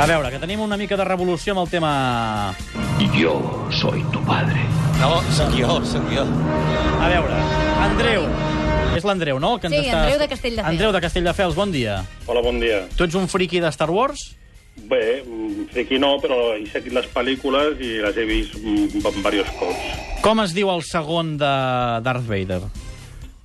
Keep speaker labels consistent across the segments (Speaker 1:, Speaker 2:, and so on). Speaker 1: A veure, que tenim una mica de revolució amb el tema...
Speaker 2: Yo soy tu padre.
Speaker 3: No, sóc jo, sóc jo.
Speaker 1: A veure, Andreu. És l'Andreu, no? El Que ens
Speaker 4: Sí,
Speaker 1: està...
Speaker 4: Andreu de Castelldefels.
Speaker 1: Andreu de Castelldefels, bon dia.
Speaker 5: Hola, bon dia.
Speaker 1: Tu ets un friki de Star Wars?
Speaker 5: Bé, mm, friki no, però he seguit les pel·lícules i les he vist mm, diversos cops.
Speaker 1: Com es diu el segon de Darth Vader?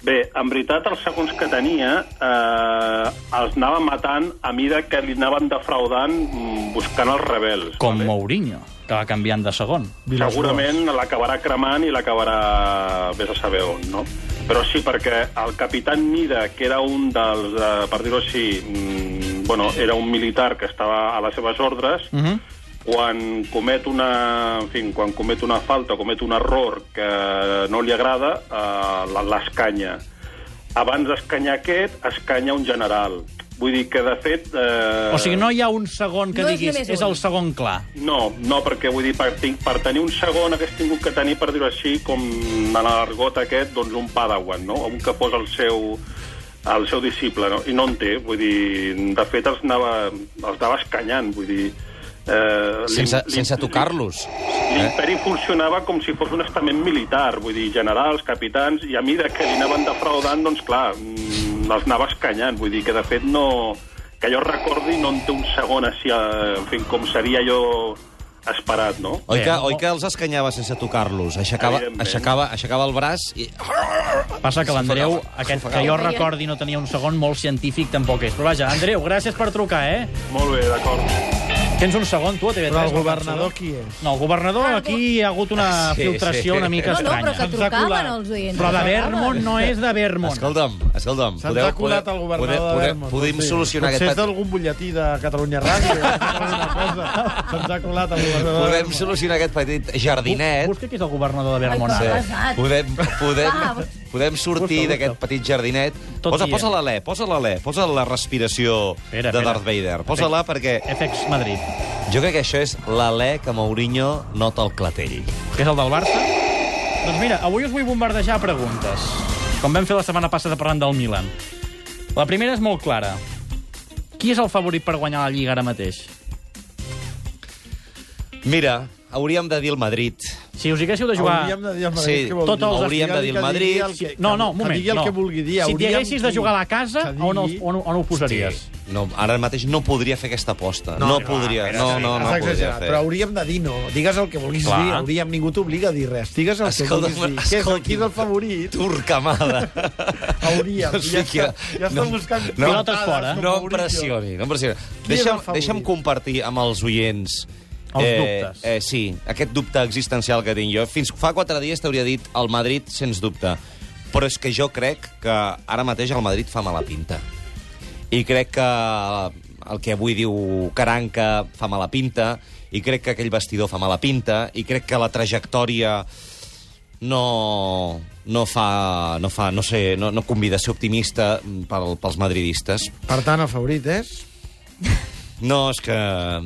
Speaker 5: Bé, en veritat, els segons que tenia eh, els anava matant a mida que li anaven defraudant mm, buscant els rebels.
Speaker 1: Com
Speaker 5: vale?
Speaker 1: Mourinho, que va canviant de segon.
Speaker 5: Segurament l'acabarà cremant i l'acabarà vés a saber on, no? Però sí, perquè el capitán Mida, que era un dels, eh, per dir-ho així, mm, bueno, era un militar que estava a les seves ordres,
Speaker 1: Mm.
Speaker 5: uh -huh. quan comet una, en fi, quan comet una falta o comet un error que no li agrada, eh, la- l'escanya. Abans d'escanyar aquest, escanya un general. Vull dir que, de fet... Eh...
Speaker 1: O sigui, no hi ha un segon que
Speaker 4: No és
Speaker 1: diguis,
Speaker 4: només
Speaker 1: és
Speaker 4: un.
Speaker 1: el segon clar.
Speaker 5: No, no, perquè vull dir, per, tinc- per tenir un segon hagués tingut que tenir, per dir-ho així, com en l'argot aquest, doncs un padawan, no? Un que fos el seu el seu disciple, no? I no en té, vull dir, de fet els anava, els anava escanyant, vull dir... Eh,
Speaker 3: Sense,
Speaker 5: l'im-
Speaker 3: sense
Speaker 5: l'im-
Speaker 3: tocar-los.
Speaker 5: L'imperi funcionava com si fos un estament militar, vull dir, generals, capitans, i a mida que li anaven defraudant, doncs clar, mm, els anava escanyant, vull dir que de fet no... Que jo recordi no en té un segon així, eh, en fi, com seria jo esperat, no?
Speaker 3: Oi que,
Speaker 1: Bé,
Speaker 3: oi que els escanyava sense tocar-los? Aixecava,
Speaker 5: Evidentment.
Speaker 3: aixecava, aixecava el braç i...
Speaker 1: Passa que l'Andreu, aquest que jo
Speaker 4: Sufocava.
Speaker 1: recordi no tenia un segon, molt científic tampoc és. Però vaja, Andreu, gràcies per trucar, eh?
Speaker 5: Molt bé, d'acord.
Speaker 1: Tens un segon, tu, a TV3.
Speaker 6: Però el
Speaker 1: no,
Speaker 6: governador
Speaker 1: Carlos?
Speaker 6: qui és?
Speaker 1: No, el governador, aquí hi ha hagut una
Speaker 3: Ah, Sí,
Speaker 1: filtració
Speaker 3: sí.
Speaker 1: una mica
Speaker 4: Ah, No, no,
Speaker 1: estranya.
Speaker 4: però que trucaven els oients.
Speaker 1: Però de
Speaker 4: trucaven.
Speaker 1: Vermont no és de Vermont.
Speaker 3: Escolta'm, escolta'm.
Speaker 6: Se'ns ha colat el governador
Speaker 3: podeu,
Speaker 6: de
Speaker 3: podeu,
Speaker 6: Vermont.
Speaker 3: podem
Speaker 6: sí.
Speaker 3: solucionar
Speaker 6: Potser
Speaker 3: aquest...
Speaker 6: és d'algun butlletí de Catalunya Ràdio. alguna cosa. Se'ns ha colat el governador de
Speaker 3: Podem
Speaker 6: Vermont.
Speaker 3: solucionar aquest petit jardinet.
Speaker 1: Busca qui és el governador de Vermont.
Speaker 4: Ai,
Speaker 1: ara.
Speaker 4: que pesat.
Speaker 3: Podem, podem,
Speaker 4: Va, busca.
Speaker 3: podem sortir
Speaker 6: Busca, busca.
Speaker 3: d'aquest petit jardinet.
Speaker 1: Tot
Speaker 3: posa
Speaker 1: dient.
Speaker 3: posa l'alè, posa l'alè, posa la respiració
Speaker 1: Espera,
Speaker 3: de
Speaker 1: espera.
Speaker 3: Darth Vader. Posa-la perquè
Speaker 1: FX Madrid,
Speaker 3: jo crec que això és l'alè que Mourinho nota al clatell.
Speaker 1: que és el del Barça. Doncs mira, avui us vull bombardejar preguntes, com vam fer la setmana passada parlant del Milan. La primera és molt clara. Qui és el favorit per guanyar la Lliga ara mateix?
Speaker 3: Mira, hauríem de dir el Madrid.
Speaker 1: Si us haguéssiu de jugar...
Speaker 6: Hauríem de dir al
Speaker 3: Sí,
Speaker 6: Madrid què vol
Speaker 1: tots
Speaker 6: dir.
Speaker 1: els
Speaker 3: hauríem de dir el
Speaker 6: Que digui
Speaker 3: Madrid.
Speaker 6: el que-
Speaker 1: No, no, un
Speaker 6: Que
Speaker 1: moment.
Speaker 6: digui el
Speaker 1: no.
Speaker 6: que vulgui dir.
Speaker 1: Si
Speaker 6: hauríem
Speaker 1: t'haguessis de
Speaker 6: dit
Speaker 1: jugar a la casa,
Speaker 6: que digui-
Speaker 1: on, els, on, on ho posaries?
Speaker 3: Sí. No, ara mateix no podria fer aquesta aposta. No,
Speaker 6: No,
Speaker 3: no
Speaker 6: clar,
Speaker 3: podria,
Speaker 6: espera,
Speaker 3: no,
Speaker 6: sí,
Speaker 3: no,
Speaker 6: has
Speaker 3: no podria
Speaker 6: exagerat,
Speaker 3: fer.
Speaker 6: Però hauríem de dir no. Digues el que vulguis
Speaker 3: Clar.
Speaker 6: dir. Hauríem, ningú t'obliga a dir res. Digues el que
Speaker 3: Escolta'm,
Speaker 6: vulguis dir. Què és el, qui és el
Speaker 3: escolti'm.
Speaker 6: favorit?
Speaker 3: Turcamada.
Speaker 6: Hauríem.
Speaker 3: No sé
Speaker 6: ja,
Speaker 3: qui-
Speaker 6: està, ja està
Speaker 3: no-
Speaker 6: buscant... eh?
Speaker 3: no-
Speaker 1: Pilotes fora.
Speaker 3: No
Speaker 6: com
Speaker 3: em
Speaker 6: Mourinho.
Speaker 3: pressioni, no em pressioni.
Speaker 6: Qui és el
Speaker 3: Deixa'm,
Speaker 6: favorit?
Speaker 3: deixa'm compartir amb els oients
Speaker 1: Els dubtes.
Speaker 3: Eh, sí, aquest dubte existencial que tinc jo. Fins fa quatre dies t'hauria dit el Madrid, sens dubte. Però és que jo crec que ara mateix el Madrid fa mala pinta. I crec que el que avui diu Caranca fa mala pinta, i crec que aquell vestidor fa mala pinta, i crec que la trajectòria no, no fa, no fa, no sé, no, no convida a ser optimista pel, pels madridistes.
Speaker 6: Per tant, el favorit és...
Speaker 3: No, és que...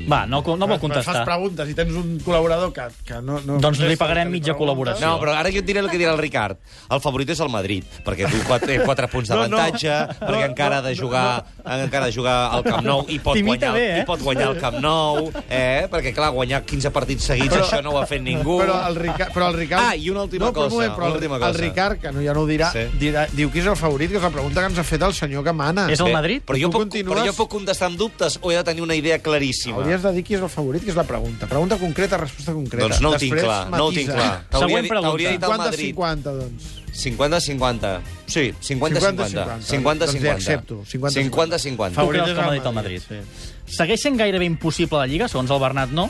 Speaker 1: Va, no, no vol contestar.
Speaker 6: Fas preguntes i tens un col·laborador que, que no, no...
Speaker 1: Doncs li
Speaker 6: contesta,
Speaker 1: pagarem
Speaker 6: que
Speaker 1: mitja
Speaker 6: preguntes.
Speaker 1: col·laboració.
Speaker 3: No, però ara jo et diré el que dirà el Ricard. El favorit és el Madrid, perquè tu quatre, té quatre punts
Speaker 6: No, no.
Speaker 3: d'avantatge, no, no, perquè encara ha de jugar, encara ha de jugar al Camp Nou i pot,
Speaker 1: T'imita
Speaker 3: guanyar,
Speaker 1: bé, eh?
Speaker 3: i pot guanyar el Camp Nou, eh? perquè clar, guanyar 15 partits seguits, però, això no ho ha fet ningú.
Speaker 6: Però el, Ricard, però el Ricard...
Speaker 3: Ah, i una última
Speaker 6: no, però un
Speaker 3: cosa,
Speaker 6: Moment, però
Speaker 3: una última
Speaker 6: el,
Speaker 3: cosa.
Speaker 6: el Ricard, que no, ja no ho dirà,
Speaker 3: Sí.
Speaker 6: sí. dirà, diu qui és el favorit, que és la pregunta que ens ha fet el senyor que mana.
Speaker 1: És el
Speaker 3: Bé,
Speaker 1: Madrid?
Speaker 3: Però jo,
Speaker 6: Tu
Speaker 3: puc,
Speaker 6: continues?
Speaker 3: però jo puc contestar amb dubtes o he de tenir una idea claríssima?
Speaker 6: Hauries de dir qui és el favorit, que és la pregunta. Pregunta concreta, resposta concreta.
Speaker 3: Doncs no ho
Speaker 6: Després
Speaker 3: tinc clar, no ho tinc
Speaker 6: matisa.
Speaker 3: clar. T'hauria
Speaker 1: Següent
Speaker 3: dit-
Speaker 1: pregunta.
Speaker 3: T'hauria dit el Madrid.
Speaker 6: 50-50, doncs.
Speaker 3: 50-50. Sí, 50-50.
Speaker 6: 50-50. Doncs li accepto, 50-50.
Speaker 3: 50-50.
Speaker 1: Tu creus que el Madrid al Madrid? Segueix sent gairebé impossible la Lliga, segons el Bernat, no?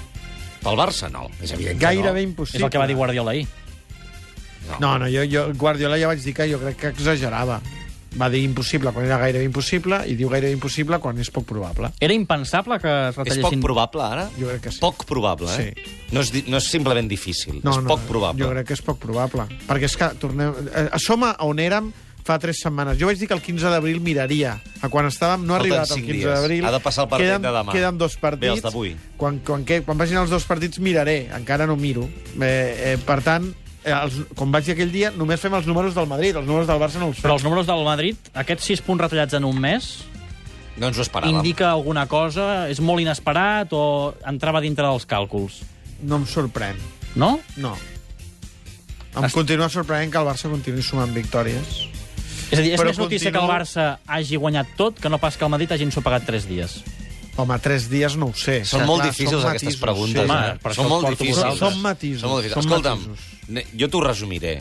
Speaker 3: Pel Barça, no. És evident
Speaker 6: Gairebé
Speaker 3: que no.
Speaker 1: És
Speaker 6: impossible.
Speaker 1: el que va dir Guardiola ahir.
Speaker 6: No, no, jo, jo Guardiola ja vaig dir que jo crec que exagerava. Va dir impossible quan era gairebé impossible i diu gairebé impossible quan és poc probable.
Speaker 1: Era impensable que es
Speaker 3: És poc
Speaker 1: retallessin...
Speaker 3: probable, ara?
Speaker 6: Jo crec que sí.
Speaker 3: Poc probable, eh? Sí. No, és, di- no és simplement difícil,
Speaker 6: No,
Speaker 3: és
Speaker 6: no,
Speaker 3: poc probable.
Speaker 6: Jo crec que és poc probable. Perquè és que tornem... Eh, som a on érem fa tres setmanes. Jo vaig dir que el 15 d'abril miraria. A quan estàvem no ha
Speaker 3: Falten
Speaker 6: arribat el
Speaker 3: cinc
Speaker 6: 15
Speaker 3: dies.
Speaker 6: d'abril.
Speaker 3: Ha de passar el partit
Speaker 6: queden,
Speaker 3: de demà.
Speaker 6: Queden dos partits.
Speaker 3: Bé, els d'avui.
Speaker 6: Quan, quan, que, quan vagin els dos partits miraré. Encara no miro. Eh, eh, per tant, eh, els, com vaig dir aquell dia, només fem els números del Madrid. Els números del Barça no els fem.
Speaker 1: Però els números del Madrid, aquests 6 punts retallats en un mes,
Speaker 3: No ens ho esperàvem.
Speaker 1: indica alguna cosa, és molt inesperat o entrava dintre dels càlculs,
Speaker 6: No em sorprèn.
Speaker 1: no?
Speaker 6: No. Em
Speaker 1: Has-
Speaker 6: continua sorprenent que el Barça continuï sumant victòries.
Speaker 1: És a dir, és
Speaker 6: Però
Speaker 1: més notícia que
Speaker 6: continuo-
Speaker 1: el Barça hagi guanyat tot que no pas que el Madrid hagi ensopegat 3 dies.
Speaker 6: Home, tres dies no ho sé.
Speaker 3: Són
Speaker 6: Clar,
Speaker 3: molt
Speaker 6: clar,
Speaker 3: difícils
Speaker 6: són
Speaker 3: aquestes
Speaker 6: matisos,
Speaker 3: preguntes.
Speaker 1: Home,
Speaker 3: eh?
Speaker 1: per això
Speaker 3: són
Speaker 1: els
Speaker 3: molt
Speaker 1: porto
Speaker 3: difícils.
Speaker 1: vosaltres.
Speaker 6: Són matisos,
Speaker 3: Són molt difícils.
Speaker 6: són
Speaker 3: Escolta'm,
Speaker 6: matisos.
Speaker 3: ne- jo t'ho resumiré.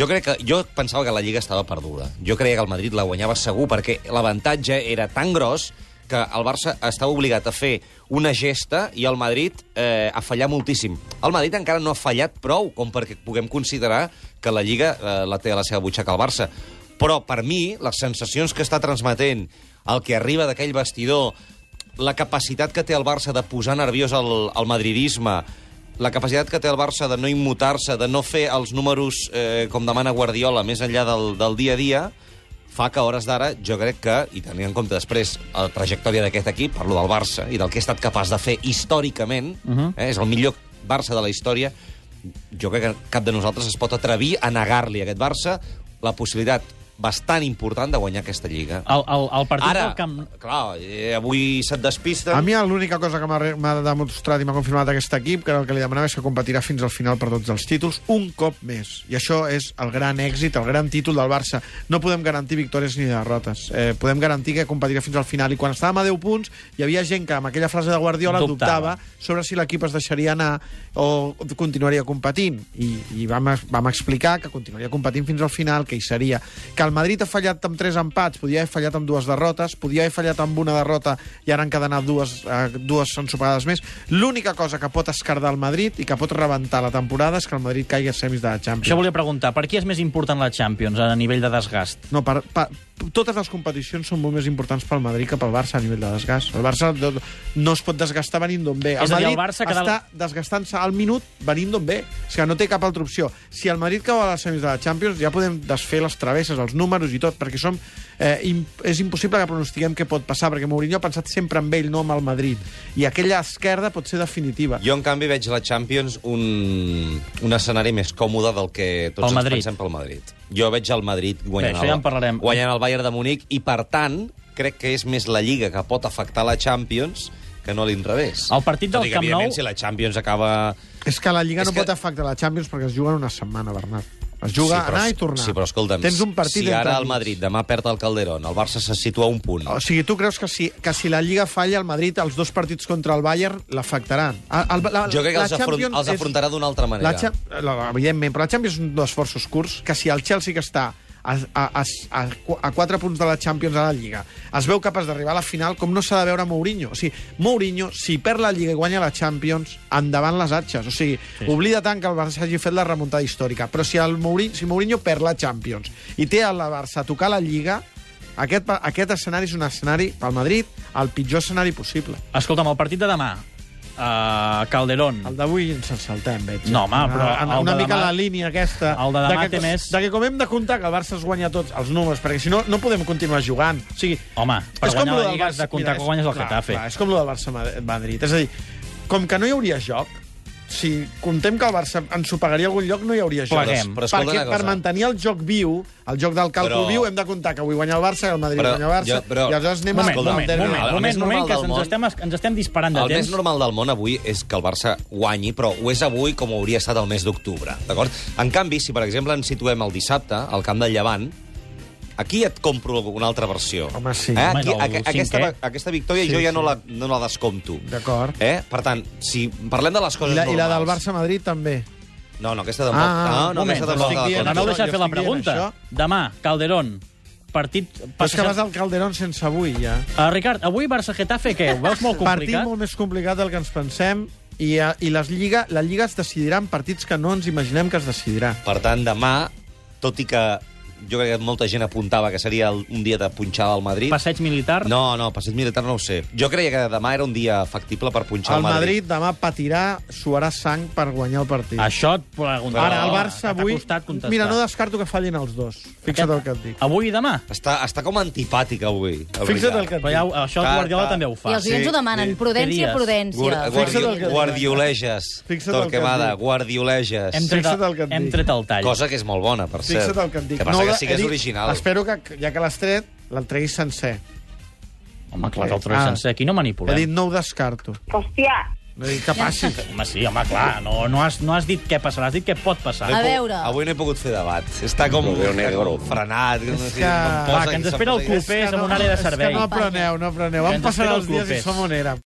Speaker 3: Jo crec que jo pensava que la Lliga estava perduda. Jo creia que el Madrid la guanyava segur perquè l'avantatge era tan gros que el Barça estava obligat a fer una gesta i el Madrid eh, a fallar moltíssim. El Madrid encara no ha fallat prou com perquè puguem considerar que la Lliga eh, la té a la seva butxaca el Barça. Però, per mi, les sensacions que està transmetent el que arriba d'aquell vestidor, la capacitat que té el Barça de posar nerviós el, el madridisme, la capacitat que té el Barça de no immutar-se, de no fer els números eh, com demana Guardiola, més enllà del, del dia a dia, fa que a hores d'ara jo crec que, i tenint en compte després la trajectòria d'aquest equip, parlo del Barça i del que ha estat capaç de fer històricament, uh -huh. eh, és el millor Barça de la història, jo crec que cap de nosaltres es pot atrevir a negar-li a aquest Barça la possibilitat bastant important de guanyar aquesta Lliga.
Speaker 1: El, el, el partit
Speaker 3: Ara,
Speaker 1: del Camp...
Speaker 3: clar, eh, avui se't despista...
Speaker 6: A mi l'única cosa que m'ha re- m'ha demostrat i m'ha confirmat aquest equip, que era el que li demanava, és que competirà fins al final per tots els títols, un cop més. I això és el gran èxit, el gran títol del Barça. No podem garantir victòries ni derrotes. Eh, podem garantir que competirà fins al final. I quan estàvem a 10 punts, hi havia gent que amb aquella frase de Guardiola
Speaker 1: Dubtava.
Speaker 6: dubtava, sobre si l'equip es deixaria anar o continuaria competint. I, i vam, vam explicar que continuaria competint fins al final, que hi seria. Que el Madrid ha fallat amb tres empats, podia haver fallat amb dues derrotes, podia haver fallat amb una derrota i ara han quedat dues, eh, dues ensopegades més. L'única cosa que pot escardar el Madrid i que pot rebentar la temporada és que el Madrid caigui a semis de la Champions.
Speaker 1: Això volia preguntar, per qui és més important la Champions a nivell de desgast?
Speaker 6: No, per, per, totes les competicions són molt més importants pel Madrid que pel Barça a nivell de desgast. El Barça no, no es pot desgastar venint d'on ve.
Speaker 1: És
Speaker 6: El
Speaker 1: a dir,
Speaker 6: Madrid
Speaker 1: el Barça que
Speaker 6: està desgastant-se al minut venint d'on ve. És que no té cap altra opció. Si el Madrid cau a les semis de la Champions, ja podem desfer les travesses, els números i tot, perquè som, eh, im, és impossible que pronostiquem què pot passar, perquè Mourinho ha pensat sempre en ell, no en el Madrid. I aquella esquerda pot ser definitiva.
Speaker 3: Jo, en canvi, veig la Champions un, un escenari més còmode del que tots
Speaker 1: Pel
Speaker 3: ens
Speaker 1: Madrid.
Speaker 3: pensem pel Madrid. Jo veig el Madrid guanyant,
Speaker 1: Bé, això ja en
Speaker 3: el,
Speaker 1: parlarem.
Speaker 3: guanyant el Bayern de Múnich i, per tant, crec que és més la Lliga que pot afectar la Champions que no l'inrevés.
Speaker 1: El partit del
Speaker 3: Tot i que,
Speaker 1: Camp Nou-
Speaker 3: evidentment, si la Champions acaba...
Speaker 6: És que la Lliga
Speaker 3: És
Speaker 6: no
Speaker 3: que-
Speaker 6: que... pot afectar la Champions perquè es juga en una setmana, Bernat. Es juga
Speaker 3: però-
Speaker 6: anar i tornar.
Speaker 3: Sí, però escolta'm,
Speaker 6: Tens un partit
Speaker 3: si ara
Speaker 6: entremig.
Speaker 3: el Madrid demà perd el Calderón, el Barça se situa a un punt.
Speaker 6: O sigui, tu creus que si, que si la Lliga falla, el Madrid, els dos partits contra el Bayern l'afectaran? El- el- la-
Speaker 3: Jo crec que
Speaker 6: la
Speaker 3: els, afron,
Speaker 6: Champions
Speaker 3: els
Speaker 6: és-
Speaker 3: afrontarà d'una altra manera.
Speaker 6: La, Cha- la, evidentment, però la Champions és un dels forços curts, que si el Chelsea que està a, a, a, a, a quatre punts de la Champions a la Lliga es veu capaç d'arribar a la final com no s'ha de veure Mourinho. O sigui, Mourinho, si perd la Lliga i guanya la Champions, endavant les atxes. O sigui, sí. oblida tant que el Barça hagi fet la remuntada històrica. Però si, el Mourinho, si Mourinho perd la Champions i té el Barça a tocar la Lliga, aquest, pa- aquest escenari és un escenari, pel Madrid, el pitjor escenari possible.
Speaker 1: Escolta'm, el partit de demà, a Calderón,
Speaker 6: El d'avui ens el saltem, veig. eh? Ah,
Speaker 1: No, home, però
Speaker 6: Una,
Speaker 1: el
Speaker 6: una
Speaker 1: de
Speaker 6: mica
Speaker 1: demà-
Speaker 6: la línia aquesta...
Speaker 1: el de demà
Speaker 6: que,
Speaker 1: té més.
Speaker 6: De que com hem de comptar que el Barça es guanya tots els números, perquè si no, no podem continuar jugant. O sigui,
Speaker 1: Home, per
Speaker 6: és com
Speaker 1: guanyar
Speaker 6: lo
Speaker 1: la
Speaker 6: del
Speaker 1: Lliga has de comptar que
Speaker 6: és-
Speaker 1: guanyes el
Speaker 6: clar,
Speaker 1: Getafe.
Speaker 6: Clar, és com el del Barça-Madrid. És a dir, com que no hi hauria joc, si comptem que el Barça ensopegaria a algun lloc, no hi hauria joc.
Speaker 1: Pleguem.
Speaker 3: Però escolta
Speaker 6: Perquè
Speaker 3: una cosa.
Speaker 6: per mantenir el joc viu, el joc del càlcul
Speaker 3: Però-
Speaker 6: viu, hem de comptar que avui guanya el Barça, que el Madrid
Speaker 3: Però-
Speaker 6: guanya el Barça,
Speaker 3: jo- però-
Speaker 6: i aleshores anem
Speaker 1: Moment,
Speaker 6: al-
Speaker 3: Escolta,
Speaker 1: moment,
Speaker 3: el
Speaker 1: moment,
Speaker 3: més
Speaker 1: moment,
Speaker 3: normal
Speaker 1: moment, que
Speaker 3: del
Speaker 1: ens
Speaker 3: món-
Speaker 1: estem, ens estem disparant de
Speaker 3: El
Speaker 1: temps.
Speaker 3: més normal del món avui és que el Barça guanyi, però ho és avui com ho hauria estat el mes d'octubre, d'acord? En canvi, si per exemple ens situem el dissabte al camp del Llevant, aquí et compro una altra versió.
Speaker 6: Home, sí.
Speaker 3: Eh?
Speaker 1: Home,
Speaker 3: Aquí,
Speaker 1: no, el
Speaker 3: a, aquesta,
Speaker 1: cinquè.
Speaker 3: aquesta victòria
Speaker 6: Sí,
Speaker 3: sí, jo ja
Speaker 6: sí.
Speaker 3: no, la, no la descompto.
Speaker 6: D'acord.
Speaker 3: Eh? Per tant, si parlem de les
Speaker 6: I
Speaker 3: coses
Speaker 6: la, I
Speaker 3: normals...
Speaker 6: la del Barça-Madrid també.
Speaker 3: No, no, aquesta tampoc.
Speaker 6: Ah,
Speaker 3: no, no,
Speaker 1: moment,
Speaker 3: aquesta
Speaker 1: però
Speaker 3: tampoc
Speaker 6: estic
Speaker 3: la
Speaker 1: No
Speaker 6: dient,
Speaker 3: descompto.
Speaker 1: m'heu
Speaker 6: Jo
Speaker 1: deixat
Speaker 6: estic
Speaker 1: fer la
Speaker 6: dient
Speaker 1: pregunta. Demà, Calderón, partit...
Speaker 6: Però és que vas al Calderón sense avui, ja.
Speaker 1: Uh, Ricard, avui Barça-Getafe, què? Ho veus molt
Speaker 6: Partit
Speaker 1: complicat?
Speaker 6: molt més complicat del que ens pensem i, eh, i les lliga, la Lliga es decidirà en partits que no ens imaginem que es decidirà.
Speaker 3: Per tant, demà, tot i que jo crec que molta gent apuntava que seria el, un dia de punxar al Madrid...
Speaker 1: Passeig militar?
Speaker 3: No, no, passeig militar no ho sé. Jo creia que demà era un dia factible per punxar
Speaker 6: El
Speaker 3: al Madrid.
Speaker 6: Madrid demà patirà, suarà sang per guanyar el partit.
Speaker 1: Això et preguntava.
Speaker 6: Ara, el
Speaker 1: Que
Speaker 6: Barça
Speaker 1: t'ha
Speaker 6: avui...
Speaker 1: costat contestar.
Speaker 6: Mira, no descarto que fallin els dos. Fixa't el que et dic.
Speaker 1: Avui i demà.
Speaker 3: Està, està com antipàtic avui. el
Speaker 6: Fixa't
Speaker 3: Ricard.
Speaker 6: el que et
Speaker 1: Però ja,
Speaker 6: dic.
Speaker 1: això el
Speaker 3: Clar,
Speaker 1: Guardiola
Speaker 3: clar.
Speaker 1: també ho
Speaker 4: I
Speaker 1: fa.
Speaker 4: els oients
Speaker 6: sí,
Speaker 4: ho demanen.
Speaker 6: sí.
Speaker 1: Què
Speaker 4: Prudència,
Speaker 1: diries?
Speaker 4: prudència.
Speaker 3: Guar- guardi-
Speaker 6: Fixa't el que et dic.
Speaker 3: Guardioleges.
Speaker 6: Fixa't el que et
Speaker 3: Torquemada,
Speaker 6: dic.
Speaker 3: guardioleges.
Speaker 1: Hem tret,
Speaker 6: Fixa't el que et
Speaker 1: hem
Speaker 6: dic.
Speaker 1: tret el tall.
Speaker 3: Cosa que és molt bona, per cert.
Speaker 6: Fixa't el que et dic.
Speaker 3: Que passa
Speaker 6: la-
Speaker 3: que sí que
Speaker 6: he
Speaker 3: és
Speaker 6: dit-
Speaker 3: original.
Speaker 6: Espero que, ja que l'has tret, l'entreguis sencer.
Speaker 1: Home, clar, que el Troy
Speaker 6: Ah.
Speaker 1: sencer aquí no
Speaker 6: He
Speaker 1: manipulem.
Speaker 6: dit no ho descarto.
Speaker 7: Hòstia,
Speaker 6: No he dit que passi.
Speaker 1: Home, sí, home, clar, no, no, has, no has dit què passarà, has dit què pot passar.
Speaker 4: A veure.
Speaker 3: Avui no he pogut fer debat. Està com
Speaker 5: Lo veo negro.
Speaker 3: frenat. Que no sé,
Speaker 6: És que-
Speaker 3: em posa
Speaker 1: Va, que ens
Speaker 3: i se'n
Speaker 1: espera el
Speaker 3: posa i-
Speaker 1: club. Fes amb
Speaker 6: no-
Speaker 1: un àrea de
Speaker 6: és
Speaker 1: servei.
Speaker 6: que no apreneu, no apreneu.
Speaker 1: Que
Speaker 6: Vam
Speaker 1: ens
Speaker 6: passar
Speaker 1: espera
Speaker 6: els
Speaker 1: el
Speaker 6: dies i
Speaker 1: clubers.
Speaker 6: som on érem.